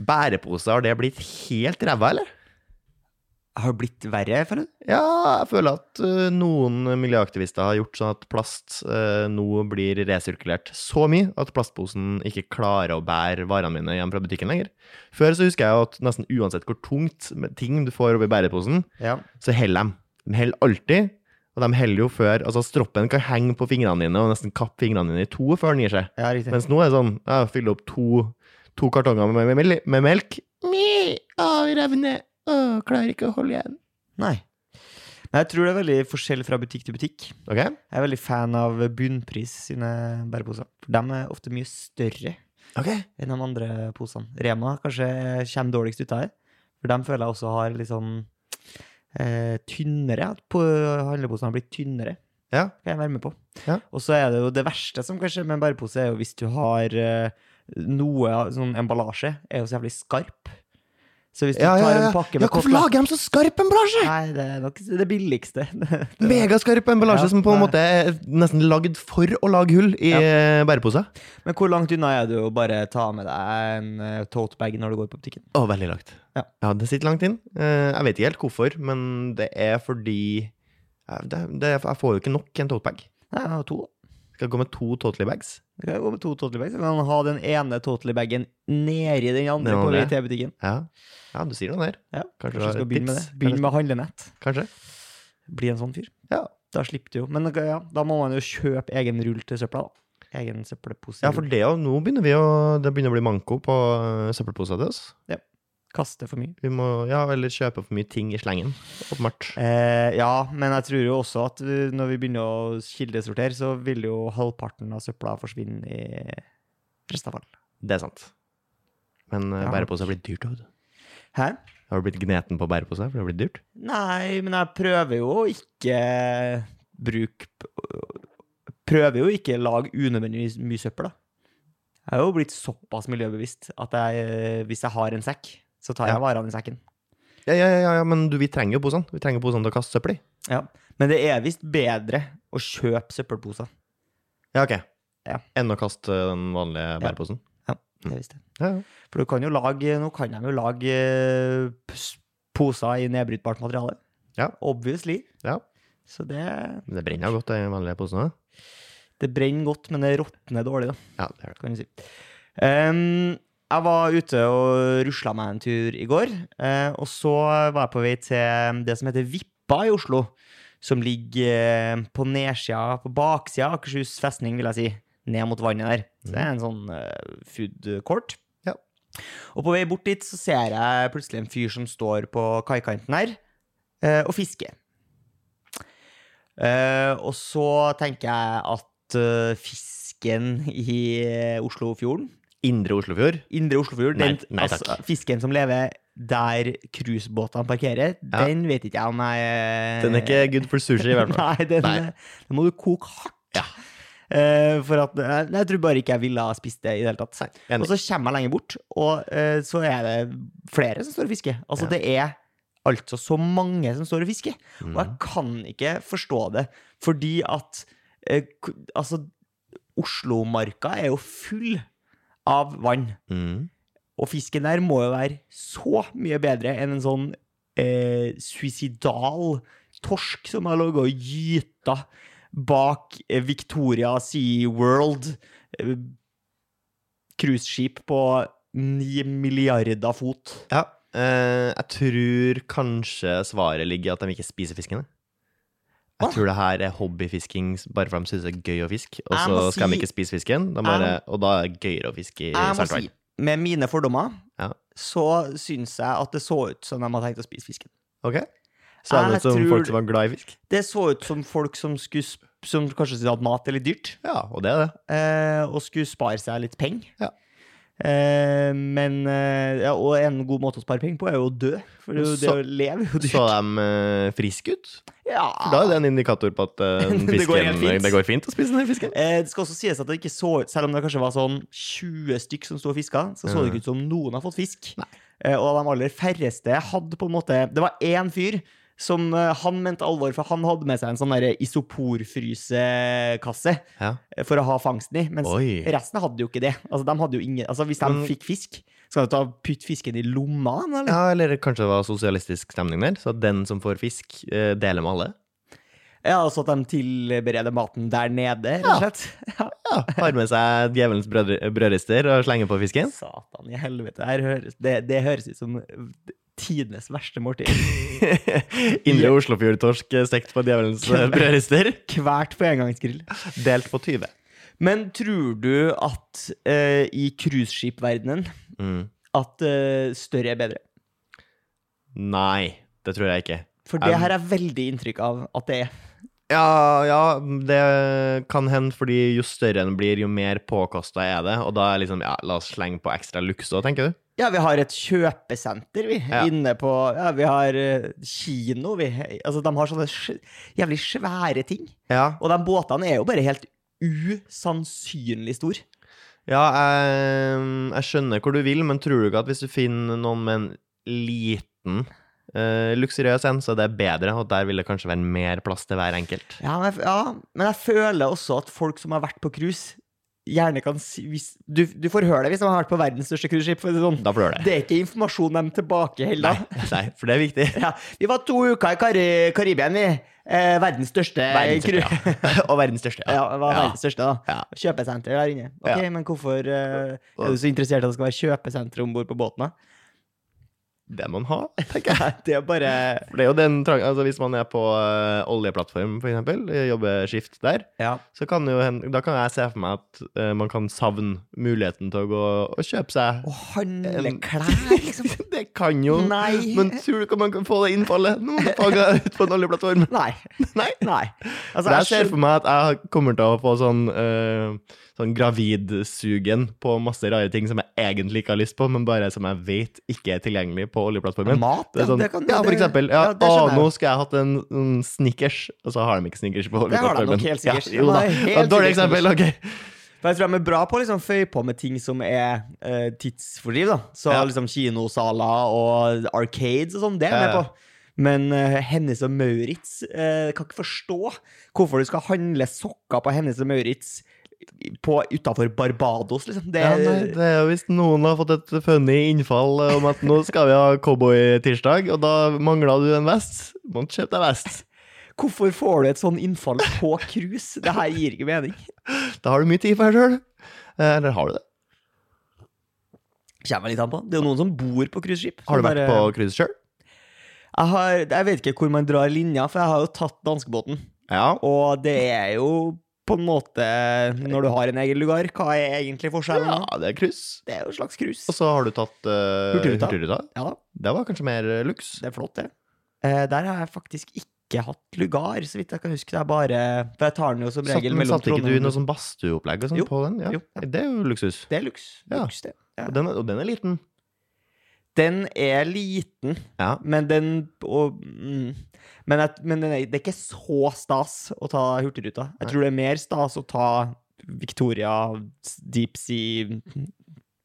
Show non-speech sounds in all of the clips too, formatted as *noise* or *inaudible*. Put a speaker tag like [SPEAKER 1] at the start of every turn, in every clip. [SPEAKER 1] Bærepose, har det blitt helt ræva, eller?
[SPEAKER 2] Har det blitt verre, føler du?
[SPEAKER 1] Ja, jeg føler at eh, noen miljøaktivister har gjort sånn at plast eh, nå blir resirkulert så mye at plastposen ikke klarer å bære varene mine hjem fra butikken lenger. Før så husker jeg jo at nesten uansett hvor tungt med ting du får oppi bæreposen,
[SPEAKER 2] Ja.
[SPEAKER 1] så heller de. De heller alltid, og de heller jo før Altså, stroppen kan henge på fingrene dine og nesten kappe fingrene dine i to før den gir seg.
[SPEAKER 2] Ja, riktig.
[SPEAKER 1] Mens nå er det sånn Jeg fyller opp to, to kartonger med, med, mel- med melk. Mi, å, revne. Å, klarer ikke å holde igjen.
[SPEAKER 2] Nei. Men jeg tror det er veldig forskjell fra butikk til butikk.
[SPEAKER 1] Ok?
[SPEAKER 2] Jeg er veldig fan av Bunnpris sine bæreposer. For de er ofte mye større
[SPEAKER 1] Ok.
[SPEAKER 2] enn de andre posene. Rema kanskje kommer dårligst ut av her. For dem føler jeg også har litt sånn eh, tynnere. At på- handleposene har blitt tynnere.
[SPEAKER 1] Ja.
[SPEAKER 2] Kan jeg være med på.
[SPEAKER 1] Ja.
[SPEAKER 2] Og så er det jo det verste som kanskje med en bærepose, er jo hvis du har eh, noe av- sånn emballasje, er jo så jævlig skarp. Så hvis du
[SPEAKER 1] Ja, ja,
[SPEAKER 2] tar
[SPEAKER 1] ja.
[SPEAKER 2] en pakke
[SPEAKER 1] Ja,
[SPEAKER 2] med
[SPEAKER 1] hvorfor
[SPEAKER 2] Coca-
[SPEAKER 1] lager de så skarp emballasje?
[SPEAKER 2] Nei, det er nok det billigste. *laughs*
[SPEAKER 1] Megaskarp emballasje
[SPEAKER 2] Ja,
[SPEAKER 1] som på en
[SPEAKER 2] nei.
[SPEAKER 1] måte er nesten lagd for å lage hull i
[SPEAKER 2] Ja.
[SPEAKER 1] ja. bæreposer.
[SPEAKER 2] Men hvor langt unna er du å bare ta med deg en eh, tote bag når du går på butikken?
[SPEAKER 1] Å, veldig langt.
[SPEAKER 2] Ja.
[SPEAKER 1] det sitter langt inn. Eh, Jeg vet ikke helt hvorfor, men det er fordi eh, det, det, Jeg får jo ikke nok i en tote bag.
[SPEAKER 2] Nei, jeg har to.
[SPEAKER 1] Skal jeg gå med to totally bags.
[SPEAKER 2] Du kan jo gå med to totally bags. Du kan ha den ene totally bagen nedi den andre
[SPEAKER 1] Den
[SPEAKER 2] på vei
[SPEAKER 1] andre.
[SPEAKER 2] til butikken.
[SPEAKER 1] Ja, ja du sier noe der.
[SPEAKER 2] Ja,
[SPEAKER 1] Kanskje
[SPEAKER 2] Kanskje
[SPEAKER 1] du har
[SPEAKER 2] du skal
[SPEAKER 1] et
[SPEAKER 2] begynne med det.
[SPEAKER 1] tips?
[SPEAKER 2] Begynn med handlenett.
[SPEAKER 1] Kanskje.
[SPEAKER 2] Bli en sånn fyr.
[SPEAKER 1] Ja.
[SPEAKER 2] Da slipper du jo. Men ja, da må man jo kjøpe egen rull til søpla, da. Egen søppelpose.
[SPEAKER 1] Ja, for det, og nå begynner vi å, det begynner å bli manko på eh, søppelposer til oss.
[SPEAKER 2] Kaste for mye.
[SPEAKER 1] Vi må ja, eller kjøpe for mye ting i slengen. Åpenbart.
[SPEAKER 2] Eh, ja, men jeg tror jo også at eh, når vi begynner å kildesortere, så vil jo halvparten av søpla forsvinne i restavfall.
[SPEAKER 1] Det er sant. Men eh,
[SPEAKER 2] Ja.
[SPEAKER 1] bærepose har blitt dyrt. vet du.
[SPEAKER 2] Hæ?
[SPEAKER 1] Har du blitt gneten på bærepose? For det har blitt dyrt.
[SPEAKER 2] Nei, men jeg prøver jo å ikke bruke Prøver jo ikke å lage unødvendig mye søppel, da. Jeg er jo blitt såpass miljøbevisst at jeg, eh, hvis jeg har en sekk, så tar jeg
[SPEAKER 1] Ja.
[SPEAKER 2] varene i sekken.
[SPEAKER 1] Ja, ja, ja, ja men du, vi trenger jo posene. Vi trenger posene til å kaste søppel i.
[SPEAKER 2] Ja. Men det er visst bedre å kjøpe søppelposer.
[SPEAKER 1] Ja, ok.
[SPEAKER 2] Ja.
[SPEAKER 1] Enn å kaste den vanlige bæreposen.
[SPEAKER 2] Det er visst det.
[SPEAKER 1] Ja, ja.
[SPEAKER 2] For du kan jo lage, nå kan de jo lage eh, pos- poser i nedbrytbart materiale.
[SPEAKER 1] Ja.
[SPEAKER 2] Obviously.
[SPEAKER 1] Ja.
[SPEAKER 2] Så det,
[SPEAKER 1] Men det brenner jo godt, de vanlige posene.
[SPEAKER 2] det brenner godt, men det råtner dårlig, da.
[SPEAKER 1] Ja, det gjør det.
[SPEAKER 2] kan du si. Ehm, jeg var ute og rusla meg en tur i går, eh, og så var jeg på vei til det som heter Vippa i Oslo, som ligger eh, på nedsida, på baksida av Akershus festning, vil jeg si, ned mot vannet der. Så det er en sånn eh, food court.
[SPEAKER 1] Ja.
[SPEAKER 2] Og på vei bort dit så ser jeg plutselig en fyr som står på kaikanten her, eh, og fisker. Eh, og så tenker jeg at eh, fisken i eh, Oslofjorden
[SPEAKER 1] Indre Oslofjord.
[SPEAKER 2] Indre Oslofjord,
[SPEAKER 1] Nei,
[SPEAKER 2] den,
[SPEAKER 1] nei takk.
[SPEAKER 2] altså, fisken som lever der cruisebåtene parkerer,
[SPEAKER 1] Ja.
[SPEAKER 2] den vet ikke jeg om jeg
[SPEAKER 1] Den er ikke good for sushi, i hvert *laughs* fall.
[SPEAKER 2] Nei, den,
[SPEAKER 1] Nei.
[SPEAKER 2] den må du koke hardt. Eh, for at eh, Jeg tror bare ikke jeg ville ha spist det i det hele tatt.
[SPEAKER 1] Nei, enig.
[SPEAKER 2] Og så kommer jeg lenger bort, og eh, så er det flere som står og fisker. Altså,
[SPEAKER 1] Ja.
[SPEAKER 2] det er altså så mange som står og fisker. Og jeg
[SPEAKER 1] Mm.
[SPEAKER 2] kan ikke forstå det, fordi at eh, k- Altså, Oslomarka er jo full av vann.
[SPEAKER 1] Mm.
[SPEAKER 2] Og fisken der må jo være så mye bedre enn en sånn eh, suicidal torsk som har ligget og gyta bak eh, Victoria Sea World eh, cruiseskip på ni milliarder fot.
[SPEAKER 1] Ja. eh, jeg tror kanskje svaret ligger i at de ikke spiser fiskene. Jeg
[SPEAKER 2] Hva?
[SPEAKER 1] tror det her er hobbyfisking bare for de syns det er gøy å fiske, og
[SPEAKER 2] Jeg
[SPEAKER 1] så
[SPEAKER 2] må
[SPEAKER 1] skal de
[SPEAKER 2] si-
[SPEAKER 1] ikke spise fisken. De bare, og da er det gøyere å fiske i
[SPEAKER 2] Jeg må si,
[SPEAKER 1] saltvann.
[SPEAKER 2] med mine fordommer,
[SPEAKER 1] Ja.
[SPEAKER 2] så syns jeg at det så ut som de hadde tenkt å spise fisken.
[SPEAKER 1] Ok? Så er det
[SPEAKER 2] Jeg
[SPEAKER 1] som
[SPEAKER 2] tror-
[SPEAKER 1] folk som var glad i fisk?
[SPEAKER 2] Det så ut som folk som, skulle, sp- som kanskje syntes at mat er litt dyrt.
[SPEAKER 1] Ja, og det er det.
[SPEAKER 2] eh, og skulle spare seg litt penger.
[SPEAKER 1] Ja.
[SPEAKER 2] Eh, men eh, ja, Og en god måte å spare penger på er jo å dø. For det, er jo- det
[SPEAKER 1] Så-
[SPEAKER 2] å leve er jo dyrt.
[SPEAKER 1] Så de eh, friske ut?
[SPEAKER 2] ja.
[SPEAKER 1] For da er det en indikator på at
[SPEAKER 2] *laughs*
[SPEAKER 1] eh, den
[SPEAKER 2] Det går helt
[SPEAKER 1] fisken,
[SPEAKER 2] fint.
[SPEAKER 1] det går fint å spise den fisken.
[SPEAKER 2] Eh, det skal også sies at det ikke så ut Selv om det kanskje var sånn 20 stykk som sto og fiska, så så det
[SPEAKER 1] Mm.
[SPEAKER 2] ikke ut som noen har fått fisk. Eh, og de aller færreste hadde på en måte Det var én fyr som eh, han mente alvor, for han hadde med seg en sånn derre isoporfrysekasse
[SPEAKER 1] Ja.
[SPEAKER 2] for å ha fangsten i. Mens
[SPEAKER 1] Oi.
[SPEAKER 2] resten hadde jo ikke det. Altså, de hadde jo ingen, altså, hvis de
[SPEAKER 1] Men-
[SPEAKER 2] fikk fisk, Skal du ta putte fisken i lomma? Eller?
[SPEAKER 1] Ja, eller kanskje det var sosialistisk stemning der, så at den som får fisk, eh, deler med alle.
[SPEAKER 2] Ja, altså at de tilbereder maten der nede, rett
[SPEAKER 1] Ja.
[SPEAKER 2] og slett. Ja.
[SPEAKER 1] Ja, Har med seg djevelens brødri- brødrister og slenger på *laughs* fisken.
[SPEAKER 2] Satan i helvete. det Her høres, det, det høres ut som tidenes verste måltid.
[SPEAKER 1] Indre Oslofjordtorsk eh, stekt på djevelens *laughs* eh, brødrister.
[SPEAKER 2] Kvært på engangsgrill.
[SPEAKER 1] Delt på 20.
[SPEAKER 2] Men tror du at eh, i cruiseskipverdenen
[SPEAKER 1] Mm.
[SPEAKER 2] at eh, større er bedre?
[SPEAKER 1] Nei, det tror jeg ikke.
[SPEAKER 2] For det
[SPEAKER 1] Um,
[SPEAKER 2] her er veldig inntrykk av at det er.
[SPEAKER 1] Ja, ja, det kan hende, fordi jo større en blir, jo mer påkosta er det. Og da er liksom, ja, la oss slenge på ekstra luks òg, tenker du?
[SPEAKER 2] Ja, vi har et kjøpesenter, vi.
[SPEAKER 1] Ja.
[SPEAKER 2] Inne på Ja, vi har eh, kino, vi. Altså, de har sånne sj- jævlig svære ting.
[SPEAKER 1] Ja.
[SPEAKER 2] Og de båtene er jo bare helt usannsynlig store.
[SPEAKER 1] Ja, jeg, jeg skjønner hvor du vil, men tror du ikke at hvis du finner noen med en liten eh, luksuriøs en, så er det bedre, og der vil det kanskje være mer plass til hver enkelt?
[SPEAKER 2] Ja, men jeg, f- ja, men jeg føler også at folk som har vært på cruise, gjerne kan si hvis, du, du får høre det hvis de har vært på verdens største cruiseskip. for å si det Sånn.
[SPEAKER 1] Da får du gjøre det.
[SPEAKER 2] Det er ikke informasjon de tilbakeholder.
[SPEAKER 1] Nei, for det er viktig.
[SPEAKER 2] Ja, vi var to uker i Kari Karibia, vi. Eh, verdens største
[SPEAKER 1] Verdens
[SPEAKER 2] cru-
[SPEAKER 1] største,
[SPEAKER 2] *laughs*
[SPEAKER 1] ja. Og verdens største.
[SPEAKER 2] Ja,
[SPEAKER 1] Ja.
[SPEAKER 2] det var
[SPEAKER 1] Ja.
[SPEAKER 2] verdens største, da.
[SPEAKER 1] Ja.
[SPEAKER 2] Kjøpesenter der inne. Ok,
[SPEAKER 1] Ja.
[SPEAKER 2] Men hvorfor eh, er du så interessert i at det skal være kjøpesenter om bord på
[SPEAKER 1] *laughs*
[SPEAKER 2] båten, da?
[SPEAKER 1] Det må man ha.
[SPEAKER 2] Det er bare
[SPEAKER 1] For det er jo den trang, altså Hvis man er på eh, oljeplattform, for eksempel, eh, jobber skift der,
[SPEAKER 2] Ja.
[SPEAKER 1] så kan jo hen- da kan jeg se for meg at eh, man kan savne muligheten til å gå og kjøpe seg
[SPEAKER 2] Å handle
[SPEAKER 1] En-
[SPEAKER 2] klær, liksom.
[SPEAKER 1] Det kan *laughs* jo
[SPEAKER 2] Nei.
[SPEAKER 1] Men tror du ikke man kan få det innfallet når man fager ut på en oljeplattform?
[SPEAKER 2] Nei.
[SPEAKER 1] Nei.
[SPEAKER 2] Nei.
[SPEAKER 1] For
[SPEAKER 2] Altså,
[SPEAKER 1] jeg ser
[SPEAKER 2] jeg
[SPEAKER 1] for meg at jeg kommer til å få sånn, eh, sånn gravidsugen på masse rare ting som jeg egentlig ikke har lyst på, men bare som jeg vet ikke er tilgjengelig på
[SPEAKER 2] skjønner
[SPEAKER 1] oljeplattformen.
[SPEAKER 2] mat,
[SPEAKER 1] Det er sånn,
[SPEAKER 2] det kan-
[SPEAKER 1] ja, for
[SPEAKER 2] det-
[SPEAKER 1] eksempel. Ja,
[SPEAKER 2] det
[SPEAKER 1] å,
[SPEAKER 2] skjønner jeg.
[SPEAKER 1] nå skulle jeg hatt en, en snickers, og så har de ikke snickers på
[SPEAKER 2] Det har de
[SPEAKER 1] oljeplattformen.
[SPEAKER 2] nok helt sikkert.
[SPEAKER 1] Ja, jo da.
[SPEAKER 2] De har helt
[SPEAKER 1] Det var et Dårlig
[SPEAKER 2] sikkert
[SPEAKER 1] eksempel, ok.
[SPEAKER 2] For jeg tror de er bra på å liksom føye på med ting som er eh, tidsfordriv. da Så
[SPEAKER 1] Ja.
[SPEAKER 2] liksom kinosaler og arcades og sånn, det er jeg med
[SPEAKER 1] Ja, ja.
[SPEAKER 2] på. Men eh, Hennes og Maurits eh, kan ikke forstå hvorfor du skal handle sokker på Hennes og Maurits utafor Barbados, liksom. Det,
[SPEAKER 1] Ja, nei, det er jo hvis noen har fått et funny innfall eh, om at nå skal vi ha cowboytirsdag, og da mangler du en vest. Må ikke kjøpe deg vest.
[SPEAKER 2] Hvorfor får du et sånn innfall på cruise? Det her gir ikke mening.
[SPEAKER 1] Da har du mye tid for deg sjøl. Eller har du det?
[SPEAKER 2] Kommer jeg litt an på. Det er jo noen som bor på cruiseskip.
[SPEAKER 1] Har du
[SPEAKER 2] som
[SPEAKER 1] vært
[SPEAKER 2] bare-
[SPEAKER 1] på cruise sjøl?
[SPEAKER 2] jeg, har, jeg vet ikke hvor man drar linja, for jeg har jo tatt danskebåten.
[SPEAKER 1] Ja.
[SPEAKER 2] Og det er jo på en måte, når du har en egen lugar, hva er egentlig forskjellen da?
[SPEAKER 1] ja, det er cruise.
[SPEAKER 2] Det er jo et slags cruise.
[SPEAKER 1] Og så har du tatt eh,
[SPEAKER 2] Hurtigruta.
[SPEAKER 1] Hurtigruta.
[SPEAKER 2] Ja da,
[SPEAKER 1] Det var kanskje mer eh, luks.
[SPEAKER 2] det er flott, det. Eh, der har jeg faktisk ikke hatt lugar, så vidt jeg kan huske. Det er bare For jeg tar den jo som
[SPEAKER 1] Satt,
[SPEAKER 2] regel
[SPEAKER 1] men
[SPEAKER 2] mellom
[SPEAKER 1] satte ikke du
[SPEAKER 2] Trondheim
[SPEAKER 1] noe sånn badstueopplegg og sånn
[SPEAKER 2] Jo.
[SPEAKER 1] på den? Ja.
[SPEAKER 2] Jo.
[SPEAKER 1] Det er jo luksus.
[SPEAKER 2] Det er luks.
[SPEAKER 1] Ja.
[SPEAKER 2] luks det. Ja.
[SPEAKER 1] Og den er, og den er liten.
[SPEAKER 2] Den er liten,
[SPEAKER 1] Ja.
[SPEAKER 2] men den og, mm, Men, jeg, men den er, det er ikke så stas å ta Hurtigruta. Jeg tror det er mer stas å ta Victoria Deep Sea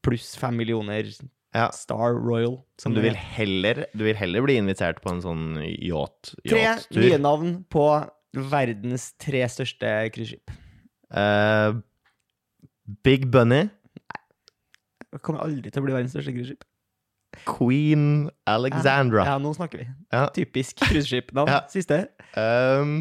[SPEAKER 2] pluss fem millioner
[SPEAKER 1] Ja.
[SPEAKER 2] Star Royal.
[SPEAKER 1] Som du
[SPEAKER 2] det
[SPEAKER 1] vil heller, du vil heller bli invitert på en sånn yacht-
[SPEAKER 2] Tre
[SPEAKER 1] yacht-tur.
[SPEAKER 2] nye navn på verdens tre største cruiseskip.
[SPEAKER 1] Eh, Big Bunny,
[SPEAKER 2] Det Kommer aldri til å bli verdens største cruiseskip.
[SPEAKER 1] Queen Alexandra,
[SPEAKER 2] Ja, nå snakker vi.
[SPEAKER 1] Ja.
[SPEAKER 2] Typisk cruiseskipnavn.
[SPEAKER 1] *laughs* Ja.
[SPEAKER 2] Siste.
[SPEAKER 1] um,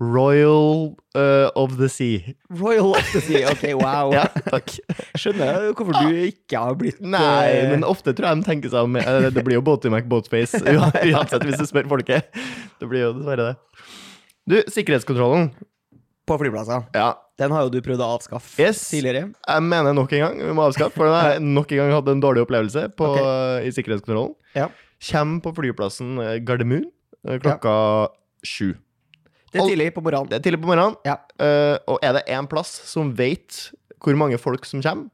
[SPEAKER 1] Royal eh, of the Sea.
[SPEAKER 2] Royal Octasy. Ok, wow.
[SPEAKER 1] *laughs* Ja, takk.
[SPEAKER 2] Skjønner jeg hvorfor du ikke har blitt
[SPEAKER 1] Nei,
[SPEAKER 2] eh,
[SPEAKER 1] men ofte tror jeg de tenker seg om eh, Det blir jo Båtøy *laughs* McBoatface uansett, hvis du spør folket. Det blir jo dessverre det. Du, sikkerhetskontrollen.
[SPEAKER 2] På flyplasser.
[SPEAKER 1] Ja,
[SPEAKER 2] Den har jo du prøvd å avskaffe
[SPEAKER 1] Yes.
[SPEAKER 2] tidligere.
[SPEAKER 1] jeg mener nok en gang vi må avskaffe, for jeg har nok en gang hatt en dårlig opplevelse på, i sikkerhetskontrollen.
[SPEAKER 2] Ja.
[SPEAKER 1] Kjem på flyplassen eh, Gardermoen eh, klokka sju.
[SPEAKER 2] Det er
[SPEAKER 1] Al-
[SPEAKER 2] tidlig på morgenen.
[SPEAKER 1] Det er tidlig på morgenen,
[SPEAKER 2] Ja.
[SPEAKER 1] eh, og er det én plass som vet hvor mange folk som kommer,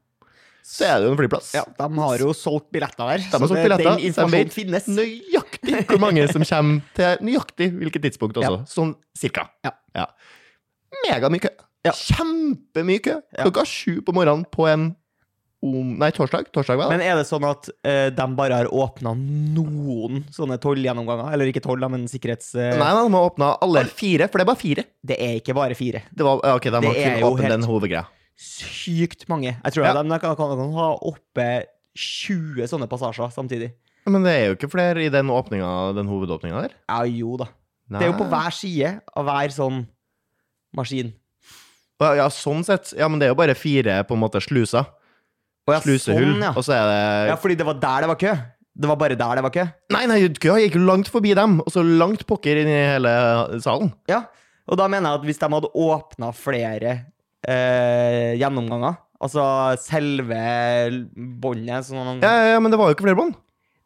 [SPEAKER 1] så er det jo en flyplass.
[SPEAKER 2] Ja, de har jo solgt billetter der.
[SPEAKER 1] har
[SPEAKER 2] så
[SPEAKER 1] solgt
[SPEAKER 2] det-
[SPEAKER 1] billetter,
[SPEAKER 2] Den
[SPEAKER 1] så de vet
[SPEAKER 2] informasjonen finnes.
[SPEAKER 1] Nøyaktig hvor mange som kommer til nøyaktig hvilket tidspunkt også. Sånn cirka.
[SPEAKER 2] Ja.
[SPEAKER 1] Megamye kø.
[SPEAKER 2] Ja.
[SPEAKER 1] Kjempemye kø.
[SPEAKER 2] Ja.
[SPEAKER 1] Klokka sju på morgenen på en om, Nei, torsdag. Torsdag, hva?
[SPEAKER 2] Men er det sånn at eh, de bare har åpna noen sånne tollgjennomganger? Eller ikke toll, da, men sikkerhets... eh,
[SPEAKER 1] Nei, nei, de har åpna alle fire, for det er bare fire.
[SPEAKER 2] Det er ikke bare fire.
[SPEAKER 1] Det var, ja, ok, de
[SPEAKER 2] Det
[SPEAKER 1] har
[SPEAKER 2] er
[SPEAKER 1] kun
[SPEAKER 2] jo
[SPEAKER 1] åpnet
[SPEAKER 2] helt-
[SPEAKER 1] den hovedgreia.
[SPEAKER 2] Sykt mange. Jeg tror
[SPEAKER 1] Ja.
[SPEAKER 2] de kan, kan, kan ha oppe 20 sånne passasjer samtidig.
[SPEAKER 1] Men det er jo ikke flere i den åpninga, den hovedåpninga der.
[SPEAKER 2] Ja, jo da. Det er jo på
[SPEAKER 1] Nei.
[SPEAKER 2] hver side av hver sånn maskin.
[SPEAKER 1] Ja, ja, sånn sett. Ja, men det er jo bare fire på en måte sluser.
[SPEAKER 2] Å, ja,
[SPEAKER 1] Slusehull.
[SPEAKER 2] sånn, ja.
[SPEAKER 1] Og så er det
[SPEAKER 2] ja, fordi det var der det var kø. Det var bare der det var kø.
[SPEAKER 1] Nei, nei, køa gikk jo langt forbi dem, og så langt pokker inn i hele salen.
[SPEAKER 2] Ja, og da mener jeg at hvis de hadde åpna flere eh, gjennomganger, altså selve båndet sånn,
[SPEAKER 1] Ja, ja, ja, men det var jo ikke flere bånd.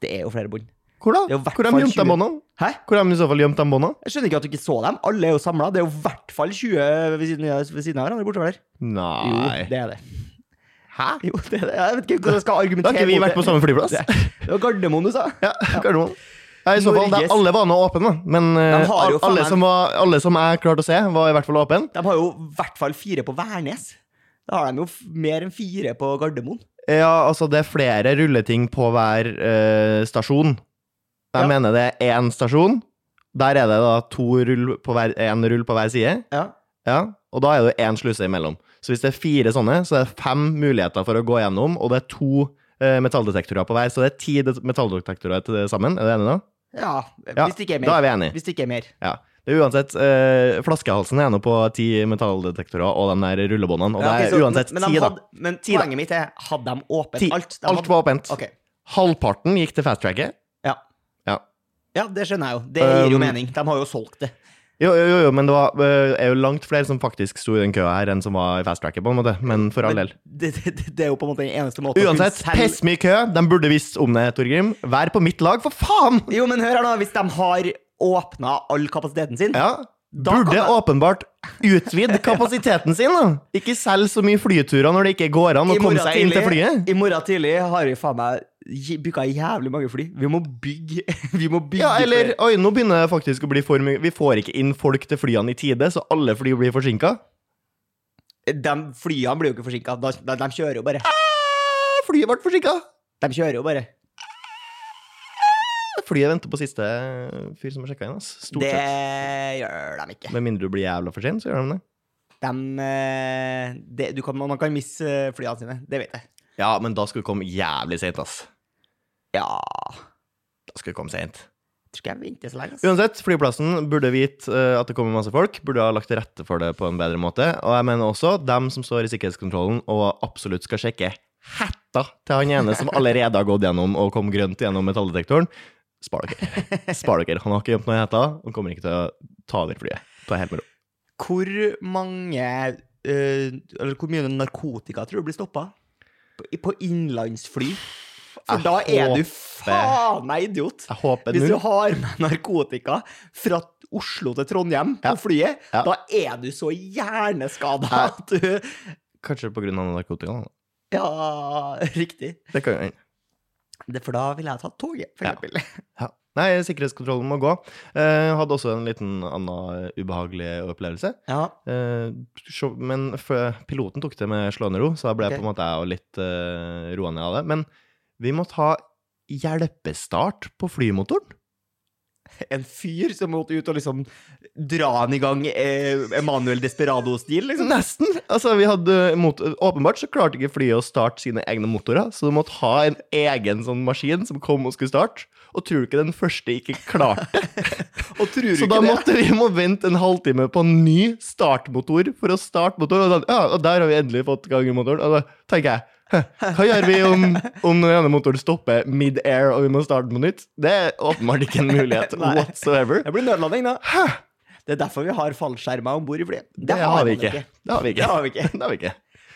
[SPEAKER 2] Det er jo flere bånd.
[SPEAKER 1] Hvor da?
[SPEAKER 2] Det er jo i hvert
[SPEAKER 1] Hvor de
[SPEAKER 2] fall
[SPEAKER 1] gjemt
[SPEAKER 2] 20.
[SPEAKER 1] de båndene?
[SPEAKER 2] Hæ?
[SPEAKER 1] Hvor de i så fall gjemt de båndene?
[SPEAKER 2] Jeg skjønner ikke at du ikke så dem. Alle er jo samla. Det er jo i hvert fall 20 ved siden av ved siden av hverandre bortover der. Jo,
[SPEAKER 1] Nei.
[SPEAKER 2] det er det. Hæ? Jo, det er det. Jeg vet ikke hvordan jeg skal
[SPEAKER 1] Da
[SPEAKER 2] argumentere.
[SPEAKER 1] har ikke vi
[SPEAKER 2] mot
[SPEAKER 1] vært på sånn- samme
[SPEAKER 2] *laughs*
[SPEAKER 1] flyplass.
[SPEAKER 2] Det, det var Gardermoen du sa.
[SPEAKER 1] Ja, Gardermoen. Ja, i så fall, det
[SPEAKER 2] Norges-
[SPEAKER 1] er alle banene åpne, da. men eh,
[SPEAKER 2] De har jo
[SPEAKER 1] al-
[SPEAKER 2] faen
[SPEAKER 1] alle,
[SPEAKER 2] meg-
[SPEAKER 1] som var, alle som jeg klarte å se, var i hvert fall åpne.
[SPEAKER 2] De har jo i hvert fall fire på Værnes. Da har de jo f- mer enn fire på Gardermoen.
[SPEAKER 1] Ja, altså, det er flere rulleting på hver eh, stasjon. Jeg
[SPEAKER 2] Ja.
[SPEAKER 1] mener det er én stasjon. Der er det da to rull på hver, en rull på hver side.
[SPEAKER 2] Ja.
[SPEAKER 1] Ja, og da er det én sluse imellom. Så hvis det er fire sånne, så er det fem muligheter for å gå gjennom, og det er to eh, metalldetektorer på hver, så det er ti det- metalldetektorer til sammen. Er du enig da?
[SPEAKER 2] ja.
[SPEAKER 1] Ja,
[SPEAKER 2] Hvis det ikke er
[SPEAKER 1] Da er
[SPEAKER 2] mer.
[SPEAKER 1] vi enige.
[SPEAKER 2] Hvis det ikke er mer.
[SPEAKER 1] Ja. Det er uansett, eh, Flaskehalsen er nå på ti metalldetektorer og de der rullebåndene, og
[SPEAKER 2] Ja, ok,
[SPEAKER 1] det
[SPEAKER 2] så-
[SPEAKER 1] er uansett
[SPEAKER 2] men, men de
[SPEAKER 1] ti, da.
[SPEAKER 2] hadde- Men
[SPEAKER 1] Ti, da.
[SPEAKER 2] poenget mitt er, hadde de åpent
[SPEAKER 1] Ti.
[SPEAKER 2] alt? De
[SPEAKER 1] Alt var åpent.
[SPEAKER 2] Ok.
[SPEAKER 1] Halvparten gikk til fast-tracket.
[SPEAKER 2] Ja, det skjønner jeg jo. Det gir jo
[SPEAKER 1] Um,
[SPEAKER 2] mening. De har jo solgt det.
[SPEAKER 1] Jo, jo, jo, jo, men det var, eh, er jo langt flere som faktisk sto i den køa her, enn som var i fast-tracket, på en måte. Men for all
[SPEAKER 2] Men
[SPEAKER 1] del.
[SPEAKER 2] Det, det, det er jo på en måte den eneste måten å kunne
[SPEAKER 1] Uansett,
[SPEAKER 2] selge-
[SPEAKER 1] pissmye kø. De burde visst om det, Torgrim. Vær på mitt lag, for faen!
[SPEAKER 2] Jo, men hør her nå, hvis de har åpna all kapasiteten sin
[SPEAKER 1] Ja.
[SPEAKER 2] Da
[SPEAKER 1] Burde
[SPEAKER 2] kan jeg-
[SPEAKER 1] åpenbart utvide kapasiteten sin, da. Ikke selge så mye flyturer når det ikke går an å
[SPEAKER 2] I morgen
[SPEAKER 1] komme seg inn til flyet.
[SPEAKER 2] I morgen tidlig har vi faen meg gi- booka jævlig mange fly. Vi må bygge *laughs* Vi må bygge
[SPEAKER 1] Ja, eller
[SPEAKER 2] flere.
[SPEAKER 1] Oi, nå begynner det faktisk å bli for mye Vi får ikke inn folk til flyene i tide, så alle fly blir forsinka.
[SPEAKER 2] De flyene blir jo ikke forsinka. De, de, de kjører jo bare.
[SPEAKER 1] Ah, flyet ble forsinka!
[SPEAKER 2] De kjører jo bare.
[SPEAKER 1] Flyet venter på siste fyr som har sjekka inn, ass. Stort
[SPEAKER 2] Det
[SPEAKER 1] sett.
[SPEAKER 2] gjør de ikke.
[SPEAKER 1] Med mindre du blir jævla for sen, så gjør de det.
[SPEAKER 2] De, eh, det- du kan, man kan misse eh, flyene sine. Det vet jeg.
[SPEAKER 1] Ja, men da skal du komme jævlig seint, ass.
[SPEAKER 2] Ja Jeg
[SPEAKER 1] Da skal du komme seint.
[SPEAKER 2] tror ikke jeg venter så lenge. ass.
[SPEAKER 1] Uansett, flyplassen burde vite eh, at det kommer masse folk, burde ha lagt til rette for det på en bedre måte. Og jeg mener også dem som står i sikkerhetskontrollen og absolutt skal sjekke hetta til han ene som allerede har gått gjennom og kom grønt gjennom metalldetektoren. Spar dere. Spar dere. Han har ikke gjemt noe i hetta, og kommer ikke til å ta over flyet. Ta helt med ro.
[SPEAKER 2] Hvor mange eh, Eller hvor mye narkotika tror du blir stoppa? På, på innlandsfly? For
[SPEAKER 1] Jeg
[SPEAKER 2] da er du
[SPEAKER 1] håper-
[SPEAKER 2] faen meg idiot!
[SPEAKER 1] Jeg håper
[SPEAKER 2] Hvis du
[SPEAKER 1] null.
[SPEAKER 2] har med narkotika fra Oslo til Trondheim på
[SPEAKER 1] Ja.
[SPEAKER 2] flyet,
[SPEAKER 1] Ja.
[SPEAKER 2] da er du så hjerneskada
[SPEAKER 1] Ja.
[SPEAKER 2] at du
[SPEAKER 1] Kanskje på grunn av narkotika. da.
[SPEAKER 2] Ja, riktig.
[SPEAKER 1] Det kan jo hende.
[SPEAKER 2] Det, for da ville jeg tatt toget, for
[SPEAKER 1] Ja.
[SPEAKER 2] eksempel.
[SPEAKER 1] Ja. Nei, sikkerhetskontrollen må gå. Eh, hadde også en liten annen ubehagelig opplevelse.
[SPEAKER 2] Ja.
[SPEAKER 1] Eh, sjå- men f- piloten tok det med slående ro, så da ble
[SPEAKER 2] Ok.
[SPEAKER 1] jeg på en måte jeg og litt uh, roa ned av det. Men vi må ta hjelpestart på flymotoren.
[SPEAKER 2] En fyr som måtte ut og liksom dra han i gang eh, Emanuel Desperado-stil, liksom.
[SPEAKER 1] Nesten! Altså, vi hadde mot Åpenbart så klarte ikke flyet å starte sine egne motorer, så du måtte ha en egen sånn maskin som kom og skulle starte. Og tror du ikke den første ikke klarte det?
[SPEAKER 2] Og tror du
[SPEAKER 1] Så da
[SPEAKER 2] ikke det?
[SPEAKER 1] måtte vi må vente en halvtime på en ny startmotor for å starte motoren. Og, da, ja, og der har vi endelig fått gang i motoren. Og da tenker jeg, «Hæ, hva gjør vi om, om den ene motoren stopper mid-air og vi må starte på nytt? Det er åpenbart ikke en mulighet
[SPEAKER 2] *laughs* Nei.
[SPEAKER 1] whatsoever.
[SPEAKER 2] Det blir nødlanding, da. Det er derfor vi har fallskjermer om bord i flyet.
[SPEAKER 1] Det har vi
[SPEAKER 2] man
[SPEAKER 1] ikke. Det har vi
[SPEAKER 2] Det
[SPEAKER 1] ikke.
[SPEAKER 2] har vi ikke.
[SPEAKER 1] Det har vi ikke.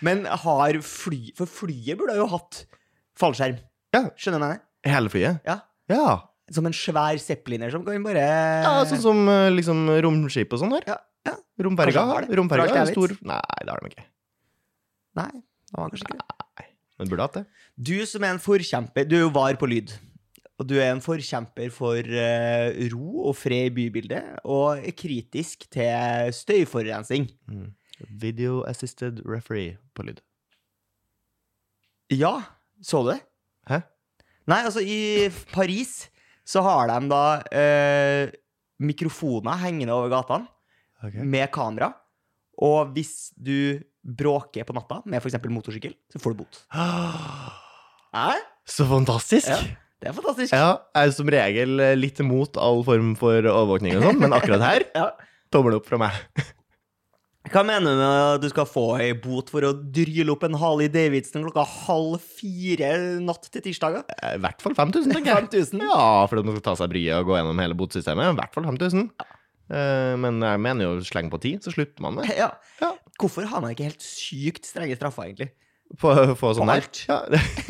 [SPEAKER 2] Men har fly For flyet burde jo hatt fallskjerm.
[SPEAKER 1] Ja.
[SPEAKER 2] Skjønner jeg?
[SPEAKER 1] Hele flyet?
[SPEAKER 2] Ja.
[SPEAKER 1] Ja.
[SPEAKER 2] Som en svær zeppeliner som kan bare
[SPEAKER 1] ja sånn som eh, liksom, romskip og sånn her.
[SPEAKER 2] Ja, ja. Kanskje
[SPEAKER 1] Romferga.
[SPEAKER 2] de har det.
[SPEAKER 1] Romferga
[SPEAKER 2] Kanskje
[SPEAKER 1] er
[SPEAKER 2] det er
[SPEAKER 1] stor. Nei, det har de ikke.
[SPEAKER 2] Nei, det var kanskje ikke det.
[SPEAKER 1] Men de burde hatt det.
[SPEAKER 2] Du som er en forkjemper Du er jo var på lyd. Og du er en forkjemper for eh, ro og fred i bybildet, og er kritisk til støyforurensning.
[SPEAKER 1] Video assisted referee på lyd.
[SPEAKER 2] Ja, så du det?
[SPEAKER 1] Hæ?
[SPEAKER 2] Nei, altså, i Paris så har de da eh, mikrofoner hengende over gatene. med kamera. Og hvis du bråker på natta med f.eks. motorsykkel, så får du bot.
[SPEAKER 1] Ok. *gasps*
[SPEAKER 2] Hæ?
[SPEAKER 1] Så fantastisk!
[SPEAKER 2] Ja. Det er fantastisk.
[SPEAKER 1] Ja, jeg er som regel eh, litt imot all form for overvåkning og sånn, men akkurat her,
[SPEAKER 2] *laughs* Ja.
[SPEAKER 1] tommel opp fra meg.
[SPEAKER 2] Eh, Hva mener du med at du skal få ei bot for å dryle opp en Harley Davidson klokka halv fire natt til tirsdager?
[SPEAKER 1] Eh, I hvert fall 5000, tenker jeg.
[SPEAKER 2] 5000?
[SPEAKER 1] Ja, fordi man skal ta seg bryet og gå gjennom hele botsystemet. I hvert fall 5000. Eh, Men jeg mener jo sleng på 10, så slutter man med.
[SPEAKER 2] Eh, Ja.
[SPEAKER 1] Ja.
[SPEAKER 2] Hvorfor har man ikke helt sykt strenge straffer, egentlig?
[SPEAKER 1] På, på sånn
[SPEAKER 2] På
[SPEAKER 1] der. Ja.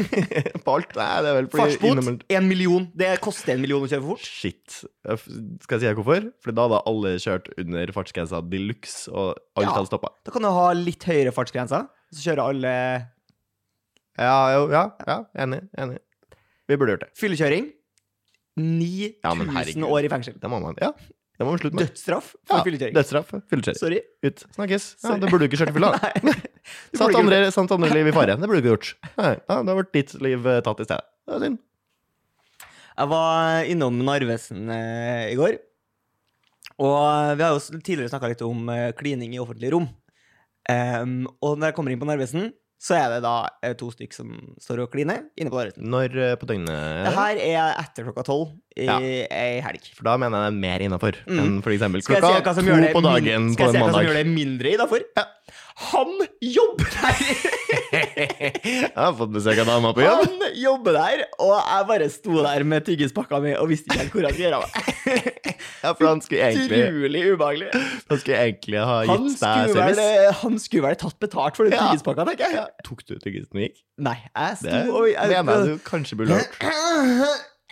[SPEAKER 1] *laughs* på alt? Nei, det er vel fordi
[SPEAKER 2] Fartsbot,
[SPEAKER 1] innom-
[SPEAKER 2] én million. Det koster én million å kjøre for fort.
[SPEAKER 1] Shit. Eh, f- Skal jeg si deg hvorfor? Fordi da hadde alle kjørt under fartsgrensa de luxe, og alt
[SPEAKER 2] Ja.
[SPEAKER 1] hadde stoppa.
[SPEAKER 2] Da kan du ha litt høyere fartsgrenser, så kjører alle
[SPEAKER 1] Ja, jo, ja, ja, enig. Enig. Vi burde gjort det.
[SPEAKER 2] fyllekjøring.
[SPEAKER 1] Ja, men
[SPEAKER 2] 9000
[SPEAKER 1] herregud.
[SPEAKER 2] år i fengsel.
[SPEAKER 1] Det må man, ja. det må man slutte med.
[SPEAKER 2] Dødsstraff for
[SPEAKER 1] Ja,
[SPEAKER 2] fyllekjøring.
[SPEAKER 1] dødsstraff. Fyllekjøring. *laughs*
[SPEAKER 2] Sorry.
[SPEAKER 1] Ut. Snakkes. Ja,
[SPEAKER 2] Sorry.
[SPEAKER 1] det burde du ikke kjørt i fylla.
[SPEAKER 2] *laughs* Nei. Du
[SPEAKER 1] Satt
[SPEAKER 2] burde ikke gjort
[SPEAKER 1] andre, satt andre liv i fare. Det burde du ikke
[SPEAKER 2] *laughs*
[SPEAKER 1] gjort. Nei, ja, det har vært ditt liv eh, tatt i stedet. Det er synd.
[SPEAKER 2] Jeg var innom Narvesen eh, i går. Og vi har jo s- tidligere snakka litt om eh, klining i offentlige rom. Em, og når jeg kommer inn på Narvesen, så er det da eh, to stykk som står og kliner inne på Narvesen.
[SPEAKER 1] Når eh, på døgnet er
[SPEAKER 2] Det
[SPEAKER 1] det?
[SPEAKER 2] her er etter klokka tolv i
[SPEAKER 1] Ja.
[SPEAKER 2] ei helg.
[SPEAKER 1] For da mener jeg det er mer innafor
[SPEAKER 2] Mm.
[SPEAKER 1] enn for eksempel
[SPEAKER 2] Skal jeg si
[SPEAKER 1] klokka
[SPEAKER 2] hva som
[SPEAKER 1] to
[SPEAKER 2] gjør det,
[SPEAKER 1] på
[SPEAKER 2] min-
[SPEAKER 1] dagen på en
[SPEAKER 2] skal jeg si hva som gjør
[SPEAKER 1] mandag.
[SPEAKER 2] det mindre innafor? Han jobber
[SPEAKER 1] *laughs*
[SPEAKER 2] der!
[SPEAKER 1] Jeg har fått besøk av dama på jobb.
[SPEAKER 2] *laughs* Han jobber der, og jeg bare sto der med tyggispakka mi og visste ikke helt hvor jeg skulle gjøre av meg.
[SPEAKER 1] Ja, for han skulle *laughs* egentlig,
[SPEAKER 2] Utrolig ubehagelig.
[SPEAKER 1] han skulle egentlig ha
[SPEAKER 2] Han
[SPEAKER 1] gitt deg
[SPEAKER 2] skulle, vel,
[SPEAKER 1] service.
[SPEAKER 2] han skulle vel tatt betalt for den
[SPEAKER 1] Ja.
[SPEAKER 2] tyggispakka, tenker jeg.
[SPEAKER 1] Ja, tok du tyggisen og gikk?
[SPEAKER 2] Nei, jeg sto
[SPEAKER 1] Det
[SPEAKER 2] og jeg,
[SPEAKER 1] mener jeg du kanskje burde gjort.
[SPEAKER 2] *laughs*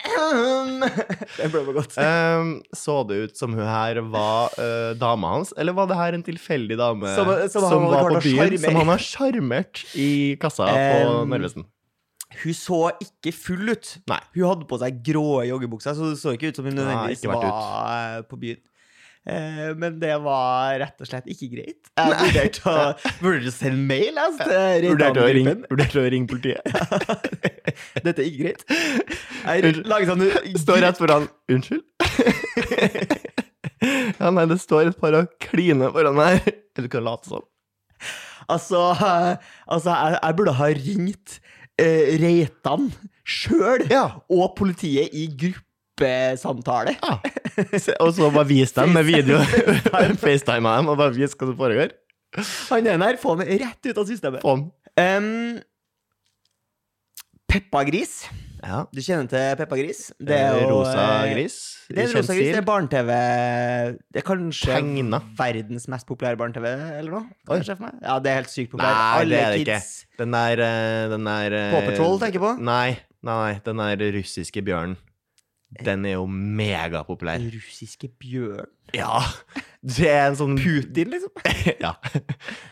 [SPEAKER 2] um, Det ble for godt.
[SPEAKER 1] Ehm, så det ut som hun her var eh, dama hans, eller var det her en tilfeldig dame
[SPEAKER 2] Som- som han hadde
[SPEAKER 1] var på
[SPEAKER 2] klart å
[SPEAKER 1] byen,
[SPEAKER 2] sjarmere.
[SPEAKER 1] som han har sjarmert i kassa på
[SPEAKER 2] Ehm,
[SPEAKER 1] Narvesen?
[SPEAKER 2] Hun så ikke full ut.
[SPEAKER 1] Nei.
[SPEAKER 2] Hun hadde på seg grå joggebukser, så det så ikke ut som hun
[SPEAKER 1] Nei,
[SPEAKER 2] nødvendigvis
[SPEAKER 1] ikke vært
[SPEAKER 2] var eh, på byen. Eh, Men det var rett og slett ikke greit. Jeg vurderte å, vurderte å sende mail. jeg, til
[SPEAKER 1] Vurderte å ringe,
[SPEAKER 2] Reitan-gruppen.
[SPEAKER 1] vurderte å ringe
[SPEAKER 2] *laughs*
[SPEAKER 1] politiet.
[SPEAKER 2] Dette er ikke greit. Jeg
[SPEAKER 1] Unnskyld.
[SPEAKER 2] lager sånn
[SPEAKER 1] Står rett foran Unnskyld? *laughs* ja, nei, det står et par og kliner foran meg. Du kan late som.
[SPEAKER 2] Altså, eh, altså jeg, jeg burde ha ringt eh, Reitan sjøl
[SPEAKER 1] Ja.
[SPEAKER 2] og politiet i gruppesamtale.
[SPEAKER 1] Se, Og så bare vis dem med
[SPEAKER 2] *laughs*
[SPEAKER 1] video. FaceTime dem og bare vis hva som foregår.
[SPEAKER 2] Han ene her, få han rett ut av systemet.
[SPEAKER 1] Faen.
[SPEAKER 2] Um, Peppa Gris.
[SPEAKER 1] Ja.
[SPEAKER 2] Du kjenner til Peppa Gris?
[SPEAKER 1] Det er
[SPEAKER 2] jo,
[SPEAKER 1] rosa
[SPEAKER 2] eh,
[SPEAKER 1] gris.
[SPEAKER 2] Det er en rosa gris, det er barne-TV Det er kanskje
[SPEAKER 1] Tegna.
[SPEAKER 2] verdens mest populære barne-TV, eller noe?
[SPEAKER 1] Oi.
[SPEAKER 2] Kan jeg se for meg? Ja, det er helt sykt populært.
[SPEAKER 1] Nei, det er
[SPEAKER 2] Alle
[SPEAKER 1] det ikke.
[SPEAKER 2] kids
[SPEAKER 1] Den der, eh, den der eh,
[SPEAKER 2] på Patrol tenker på.
[SPEAKER 1] Nei, nei, nei, den der russiske bjørnen. Den er jo megapopulær.
[SPEAKER 2] Den russiske bjørn.
[SPEAKER 1] Ja! Det er en sånn
[SPEAKER 2] Putin, liksom.
[SPEAKER 1] *laughs* Ja.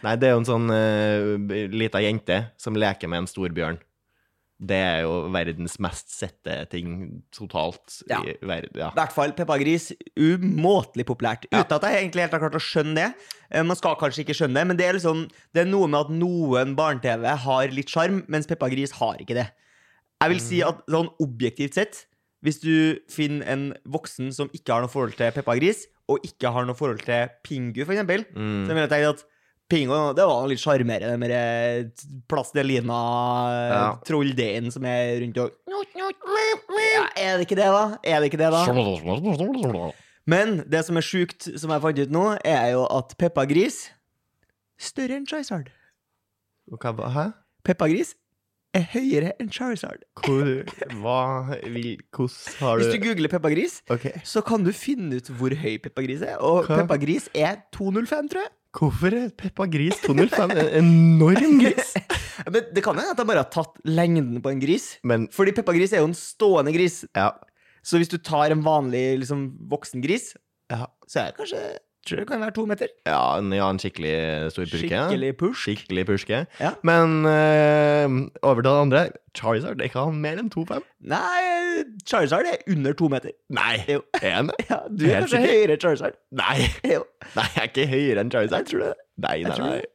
[SPEAKER 1] Nei, det er jo en sånn uh, lita jente som leker med en stor bjørn. Det er jo verdens mest sette ting totalt
[SPEAKER 2] Ja.
[SPEAKER 1] i verden. Ja.
[SPEAKER 2] I hvert fall Peppa Gris, umåtelig populært.
[SPEAKER 1] Ja.
[SPEAKER 2] Uten at jeg egentlig helt har klart å skjønne det. Eh, Man skal kanskje ikke skjønne det, men det er, liksom, det er noe med at noen barne-TV har litt sjarm, mens Peppa Gris har ikke det. Jeg vil si at sånn objektivt sett, hvis du finner en voksen som ikke har noe forhold til Peppa Gris, og ikke har noe forhold til Pingu, for eksempel, så
[SPEAKER 1] Mm.
[SPEAKER 2] vil jeg tenke at Pingu, det var litt sjarmerende med det plastelina
[SPEAKER 1] Ja.
[SPEAKER 2] trolldeigen som er rundt og ja, Er det ikke det, da? Er det ikke det, da? Men det som er sjukt, som jeg fant ut nå, er jo at Peppa Gris Større enn Charizard.
[SPEAKER 1] Og Hva, hva- hæ?
[SPEAKER 2] Peppa Gris er høyere enn Charizard.
[SPEAKER 1] Hvor, hva vil, Hvordan har
[SPEAKER 2] Hvis du
[SPEAKER 1] du
[SPEAKER 2] googler Peppa Gris,
[SPEAKER 1] Ok.
[SPEAKER 2] så kan du finne ut hvor høy Peppa Gris er. Og
[SPEAKER 1] Hva?
[SPEAKER 2] Peppa Gris er 205, tror jeg.
[SPEAKER 1] Hvorfor er Peppa Gris 205 en enorm
[SPEAKER 2] *laughs*
[SPEAKER 1] gris?
[SPEAKER 2] Men det kan hende at jeg bare har tatt lengden på en gris.
[SPEAKER 1] Men
[SPEAKER 2] Fordi Peppa Gris er jo en stående gris.
[SPEAKER 1] ja,
[SPEAKER 2] Så hvis du tar en vanlig liksom, voksen gris,
[SPEAKER 1] Ja.
[SPEAKER 2] så er det kanskje tror jeg det kan være to meter.
[SPEAKER 1] ja, en, ja en skikkelig stor purke. ja.
[SPEAKER 2] Skikkelig push.
[SPEAKER 1] Skikkelig purke.
[SPEAKER 2] Ja.
[SPEAKER 1] Men eh, over til det andre. Charizard er ikke han mer enn 2,5?
[SPEAKER 2] Nei, Charizard er under to meter.
[SPEAKER 1] Nei!
[SPEAKER 2] Jo.
[SPEAKER 1] Er han det?
[SPEAKER 2] Ja, du er
[SPEAKER 1] Helt
[SPEAKER 2] kanskje
[SPEAKER 1] sikkert.
[SPEAKER 2] høyere enn Charizard.
[SPEAKER 1] Nei.
[SPEAKER 2] Jo.
[SPEAKER 1] Nei, jeg er ikke høyere enn Charizard.
[SPEAKER 2] Jeg tror det.
[SPEAKER 1] Nei,
[SPEAKER 2] Jeg
[SPEAKER 1] nei,
[SPEAKER 2] tror
[SPEAKER 1] nei.
[SPEAKER 2] det.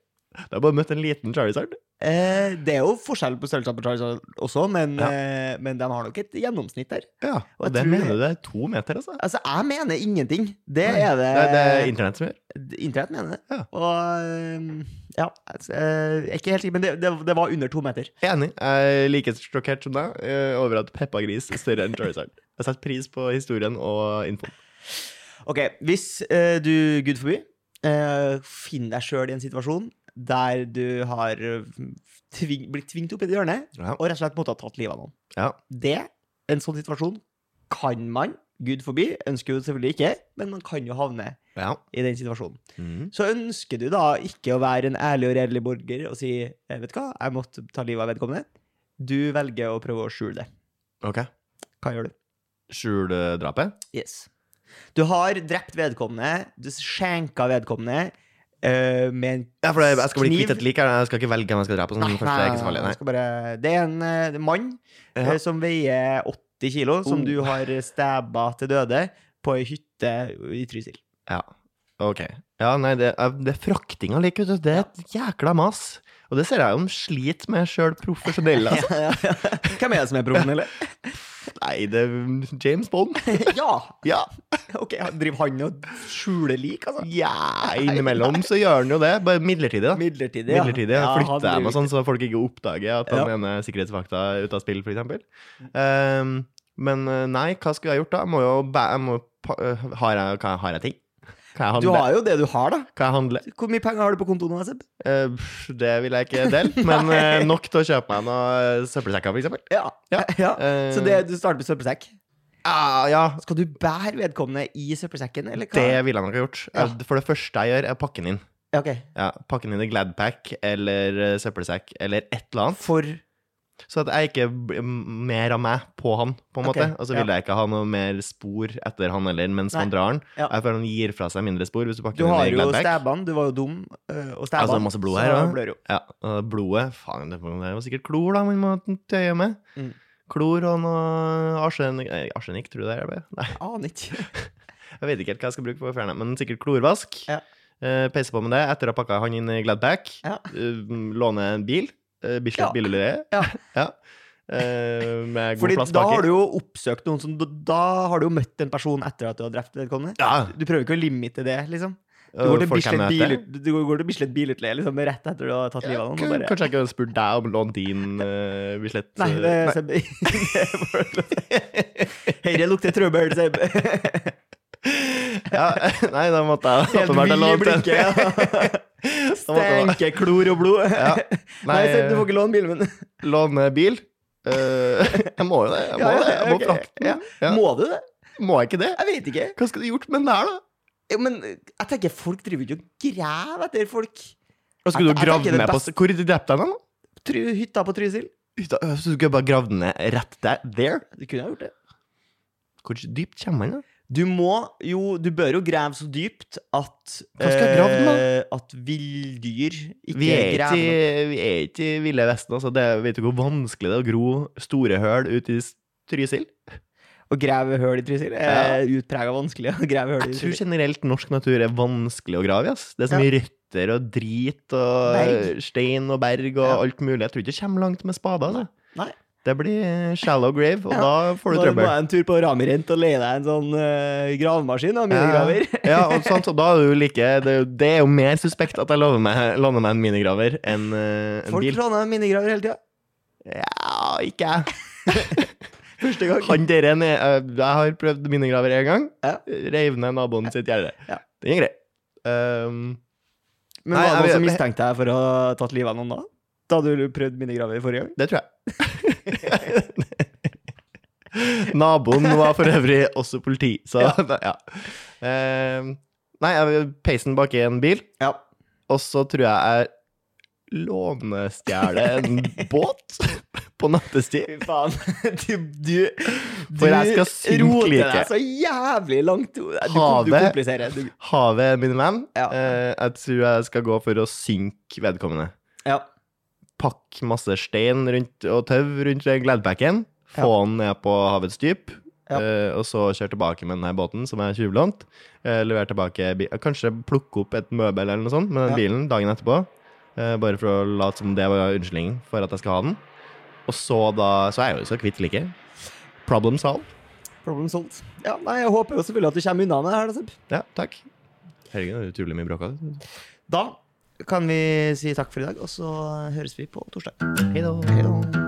[SPEAKER 1] Du har bare møtt en liten Charizard.
[SPEAKER 2] Eh, det er jo forskjell på størrelsen på Charizard også, men,
[SPEAKER 1] Ja.
[SPEAKER 2] eh, men de har nok et gjennomsnitt der.
[SPEAKER 1] Ja,
[SPEAKER 2] Og jeg
[SPEAKER 1] og det
[SPEAKER 2] tror-
[SPEAKER 1] mener du er to meter, altså?
[SPEAKER 2] Altså, jeg mener ingenting. Det
[SPEAKER 1] Nei.
[SPEAKER 2] er det,
[SPEAKER 1] Det, det
[SPEAKER 2] Eh.
[SPEAKER 1] er internett som gjør.
[SPEAKER 2] Internett mener det.
[SPEAKER 1] Ja.
[SPEAKER 2] Og ehm, ja, altså, eh, jeg er ikke helt sikker, men det, det, det var under to meter.
[SPEAKER 1] Enig. Jeg er like sjokkert som deg eh, over at Peppagris er større enn Charizard. Jeg setter pris på historien og infoen.
[SPEAKER 2] Ok, hvis eh, du, gud forby, eh, finner deg sjøl i en situasjon der du har eh, tving, blitt tvingt opp i et hjørne
[SPEAKER 1] Ja.
[SPEAKER 2] og rett og slett måtte ha tatt livet av noen.
[SPEAKER 1] Ja.
[SPEAKER 2] Det, en sånn situasjon, kan man, gud forby, ønsker jo selvfølgelig ikke, men man kan jo havne
[SPEAKER 1] Ja.
[SPEAKER 2] i den situasjonen.
[SPEAKER 1] Mm.
[SPEAKER 2] Så ønsker du da ikke å være en ærlig og redelig borger og si eh, vet du hva, jeg måtte ta livet av vedkommende. Du velger å prøve å skjule det.
[SPEAKER 1] Ok.
[SPEAKER 2] Hva gjør du?
[SPEAKER 1] Skjule eh, drapet?
[SPEAKER 2] Yes. Du har drept vedkommende, du skjenka vedkommende eh, med en
[SPEAKER 1] Ja, for jeg, jeg skal bli
[SPEAKER 2] Kniv?
[SPEAKER 1] kvitt et lik her. Jeg skal ikke velge hvem jeg skal drepe. Sånn, først, det er ikke så farlig.
[SPEAKER 2] jeg
[SPEAKER 1] Nei.
[SPEAKER 2] skal bare, det er en eh, mann
[SPEAKER 1] Ja.
[SPEAKER 2] eh, som veier 80 kilo, som
[SPEAKER 1] Oh.
[SPEAKER 2] du har stæba til døde på ei hytte i Trysil.
[SPEAKER 1] Ok. Ja, nei, det, er- det er frakting av lik, vet du. Det er et jækla mas. Og det ser jeg jo de sliter med sjøl profesjonelle. Altså.
[SPEAKER 2] Hvem er det som er proffen, eller?
[SPEAKER 1] *laughs* Nei, det er James Bond.
[SPEAKER 2] *laughs* ja!
[SPEAKER 1] Ja,
[SPEAKER 2] Ok, han- driver han og skjuler lik, altså?
[SPEAKER 1] ja innimellom så gjør han jo det. Bare midlertidig, da.
[SPEAKER 2] Midlertidig, ja.
[SPEAKER 1] Midlertidig.
[SPEAKER 2] Ja, han
[SPEAKER 1] Flytter dem og
[SPEAKER 2] driver-
[SPEAKER 1] sånn, så folk ikke oppdager at den
[SPEAKER 2] Ja. Mm.
[SPEAKER 1] ene sikkerhetsvakta er ute av spill, f.eks. Um, men eh, nei, hva skulle jeg gjort da? Jeg må jo bæ... Jeg må, pa- eh, har, jeg, kan jeg, har jeg ting? Kan jeg
[SPEAKER 2] Du
[SPEAKER 1] handle?
[SPEAKER 2] har jo det du har, da.
[SPEAKER 1] Kan jeg handle?
[SPEAKER 2] Hvor mye penger har du på kontoen? Seb?
[SPEAKER 1] Eh, pff, det vil jeg ikke
[SPEAKER 2] *laughs*
[SPEAKER 1] dele, men
[SPEAKER 2] Nei.
[SPEAKER 1] eh, nok til å kjøpe meg noen søppelsekker, f.eks.
[SPEAKER 2] Ja.
[SPEAKER 1] Ja.
[SPEAKER 2] ja.
[SPEAKER 1] Uh,
[SPEAKER 2] Så det, du starter med søppelsekk?
[SPEAKER 1] ah, Ja,
[SPEAKER 2] Skal du bære vedkommende i søppelsekken, eller hva?
[SPEAKER 1] det ville jeg nok ha gjort.
[SPEAKER 2] Ja.
[SPEAKER 1] Eh, For det første jeg gjør, er å pakke den inn.
[SPEAKER 2] Ja, ok.
[SPEAKER 1] Ja, pakke den inn i Gladpack eller eh, søppelsekk eller et eller annet.
[SPEAKER 2] For
[SPEAKER 1] Så at jeg ikke blir m- mer av meg på han, på en
[SPEAKER 2] Ok,
[SPEAKER 1] måte. Og så vil jeg ikke ha noe mer spor etter han heller mens
[SPEAKER 2] Nei.
[SPEAKER 1] man drar han.
[SPEAKER 2] Ja.
[SPEAKER 1] Jeg føler han gir fra seg mindre spor hvis du pakker
[SPEAKER 2] du
[SPEAKER 1] den
[SPEAKER 2] har
[SPEAKER 1] inn i
[SPEAKER 2] jo
[SPEAKER 1] Gladpack.
[SPEAKER 2] stæban, du var jo dum, øh, og stæban
[SPEAKER 1] Altså, masse blod
[SPEAKER 2] så
[SPEAKER 1] her, da.
[SPEAKER 2] blør jo.
[SPEAKER 1] Ja, og blodet Faen, det det var sikkert klor, da, man må tøye med.
[SPEAKER 2] Mm.
[SPEAKER 1] Klor og noe arsenikk nei, Arsenikk, tror du det er det? Nei,
[SPEAKER 2] Aner ikke.
[SPEAKER 1] jeg vet ikke helt hva jeg skal bruke for å fjerne, men sikkert klorvask.
[SPEAKER 2] Ja.
[SPEAKER 1] Eh, peise på med det etter å ha pakka han inn i Gladpack.
[SPEAKER 2] Ja.
[SPEAKER 1] Eh, låne en bil. Eh, Bislett
[SPEAKER 2] Ja.
[SPEAKER 1] Bilolje. *laughs*
[SPEAKER 2] Ja.
[SPEAKER 1] Eh, med god
[SPEAKER 2] Fordi
[SPEAKER 1] plass
[SPEAKER 2] da
[SPEAKER 1] baki.
[SPEAKER 2] har du jo oppsøkt noen som Da har du jo møtt en person etter at du har drept vedkommende.
[SPEAKER 1] Ja,
[SPEAKER 2] Du prøver ikke å limite det, liksom. Du
[SPEAKER 1] og
[SPEAKER 2] går til
[SPEAKER 1] folk jeg
[SPEAKER 2] Bislett,
[SPEAKER 1] møter.
[SPEAKER 2] bilut, du går til Bislett bilutleie liksom, rett etter du har tatt livet av noen.
[SPEAKER 1] Kun-
[SPEAKER 2] og bare-
[SPEAKER 1] Kanskje jeg kunne spurt deg om lånt din uh, Bislett
[SPEAKER 2] Nei,
[SPEAKER 1] eh,
[SPEAKER 2] det,
[SPEAKER 1] nei.
[SPEAKER 2] Seb *laughs* Herre lukter trøbbel, Seb.
[SPEAKER 1] ja, *laughs* nei, da måtte jeg
[SPEAKER 2] *laughs*
[SPEAKER 1] *laughs*
[SPEAKER 2] Helt
[SPEAKER 1] åpenbart ha
[SPEAKER 2] vill i
[SPEAKER 1] lånt den.
[SPEAKER 2] blikket. ja.
[SPEAKER 1] Da måtte jeg-
[SPEAKER 2] Stenker klor og blod.
[SPEAKER 1] Ja.
[SPEAKER 2] *laughs* Nei, Seb,
[SPEAKER 1] Nei,
[SPEAKER 2] du får
[SPEAKER 1] eh,
[SPEAKER 2] ikke låne bilen min.
[SPEAKER 1] låne bil.
[SPEAKER 2] *laughs*
[SPEAKER 1] Eh, *laughs* jeg må jo det. Jeg må,
[SPEAKER 2] Ja, ja,
[SPEAKER 1] det. Jeg må
[SPEAKER 2] ok.
[SPEAKER 1] frakte den. Ja.
[SPEAKER 2] Må du det?
[SPEAKER 1] Må jeg ikke det?
[SPEAKER 2] Jeg vet ikke.
[SPEAKER 1] Hva skulle du gjort med den der, da?
[SPEAKER 2] Jo, Men jeg tenker folk driver ikke og graver etter folk.
[SPEAKER 1] Og skulle
[SPEAKER 2] Jeg-
[SPEAKER 1] du
[SPEAKER 2] jeg tenker
[SPEAKER 1] gravd
[SPEAKER 2] det
[SPEAKER 1] ned på
[SPEAKER 2] beste-
[SPEAKER 1] Hvor drepte jeg den, da?
[SPEAKER 2] Tru, hytta på Trysil.
[SPEAKER 1] Ut av- øh, Så du skulle bare gravd den ned rett der? There?
[SPEAKER 2] Du kunne ha gjort det.
[SPEAKER 1] Hvor dypt kommer den, da?
[SPEAKER 2] Du må jo Du bør jo grave så dypt at
[SPEAKER 1] Hva skal jeg grave den
[SPEAKER 2] eh, At villdyr ikke
[SPEAKER 1] Vi er ikke,
[SPEAKER 2] graver noe.
[SPEAKER 1] i- vi er ikke i Ville Vesten, altså. Det, vet du hvor vanskelig det er å gro store høl ut i s- Trysil?
[SPEAKER 2] Å grave høl i Trysil er utprega vanskelig. å grave høl i
[SPEAKER 1] Jeg tror
[SPEAKER 2] Trysil.
[SPEAKER 1] generelt norsk natur er vanskelig å grave i. ass. Det er så
[SPEAKER 2] Ja.
[SPEAKER 1] mye røtter og drit og
[SPEAKER 2] Berg.
[SPEAKER 1] stein og berg og
[SPEAKER 2] Ja.
[SPEAKER 1] alt mulig. Jeg tror ikke det kommer langt med spade. Altså.
[SPEAKER 2] Nei.
[SPEAKER 1] Det blir shallow grave, og
[SPEAKER 2] Ja.
[SPEAKER 1] da får du
[SPEAKER 2] Bare må
[SPEAKER 1] trøbbel.
[SPEAKER 2] jeg en tur på Ramirent og leie deg en sånn eh, gravemaskin og minigraver.
[SPEAKER 1] ja, og sant, og da er du like, det, er jo- det er jo mer suspekt at jeg lander meg, lander meg en minigraver enn eh, en
[SPEAKER 2] Folk
[SPEAKER 1] bil.
[SPEAKER 2] låner minigraver hele tida.
[SPEAKER 1] Ja, ikke jeg.
[SPEAKER 2] Første gang.
[SPEAKER 1] Han der er ned- eh, Jeg har prøvd minigraver én gang.
[SPEAKER 2] Ja.
[SPEAKER 1] Reiv ned naboen sitt gjerde.
[SPEAKER 2] Ja.
[SPEAKER 1] Den er grei. Um,
[SPEAKER 2] Men
[SPEAKER 1] Nei, jeg
[SPEAKER 2] var det noen som
[SPEAKER 1] vet-
[SPEAKER 2] mistenkte deg for å ha tatt livet av noen da? Da du prøvde minigraver forrige gang?
[SPEAKER 1] Det tror jeg. *laughs* Naboen var for øvrig også politi, så
[SPEAKER 2] Ja.
[SPEAKER 1] ja. Ehm, nei, jeg vil peise den bak i en bil,
[SPEAKER 2] Ja.
[SPEAKER 1] og så tror jeg jeg lånestjeler en
[SPEAKER 2] *laughs*
[SPEAKER 1] båt på nattestid.
[SPEAKER 2] Fy faen. *laughs* Du, du, du
[SPEAKER 1] For jeg skal synke
[SPEAKER 2] roter
[SPEAKER 1] like.
[SPEAKER 2] deg så jævlig langt. Du, du, du
[SPEAKER 1] Havet.
[SPEAKER 2] kompliserer. Du,
[SPEAKER 1] Havet er min venn.
[SPEAKER 2] Ja.
[SPEAKER 1] Eh, jeg tror jeg skal gå for å synke vedkommende.
[SPEAKER 2] ja.
[SPEAKER 1] Pakke masse stein rundt, og tau rundt Gladbacken, få den ned på havets dyp,
[SPEAKER 2] Ja.
[SPEAKER 1] eh, og så kjøre tilbake med denne båten som er tjuvlånt. eh, levere tilbake bi- Kanskje plukke opp et møbel eller noe sånt med den
[SPEAKER 2] Ja.
[SPEAKER 1] bilen dagen etterpå. eh, bare for å late som det var unnskyldningen for at jeg skal ha den. Og så da, så er jeg jo så kvitt like. Problem solved.
[SPEAKER 2] Problem solved. Ja, nei, jeg håper jo selvfølgelig at du kommer unna med det her. da, Seb.
[SPEAKER 1] Ja, takk. Herregud, det er utrolig mye bråk av det.
[SPEAKER 2] Da kan vi si takk for i dag, og så høres vi på torsdag.
[SPEAKER 1] Hei da.
[SPEAKER 2] Hei da.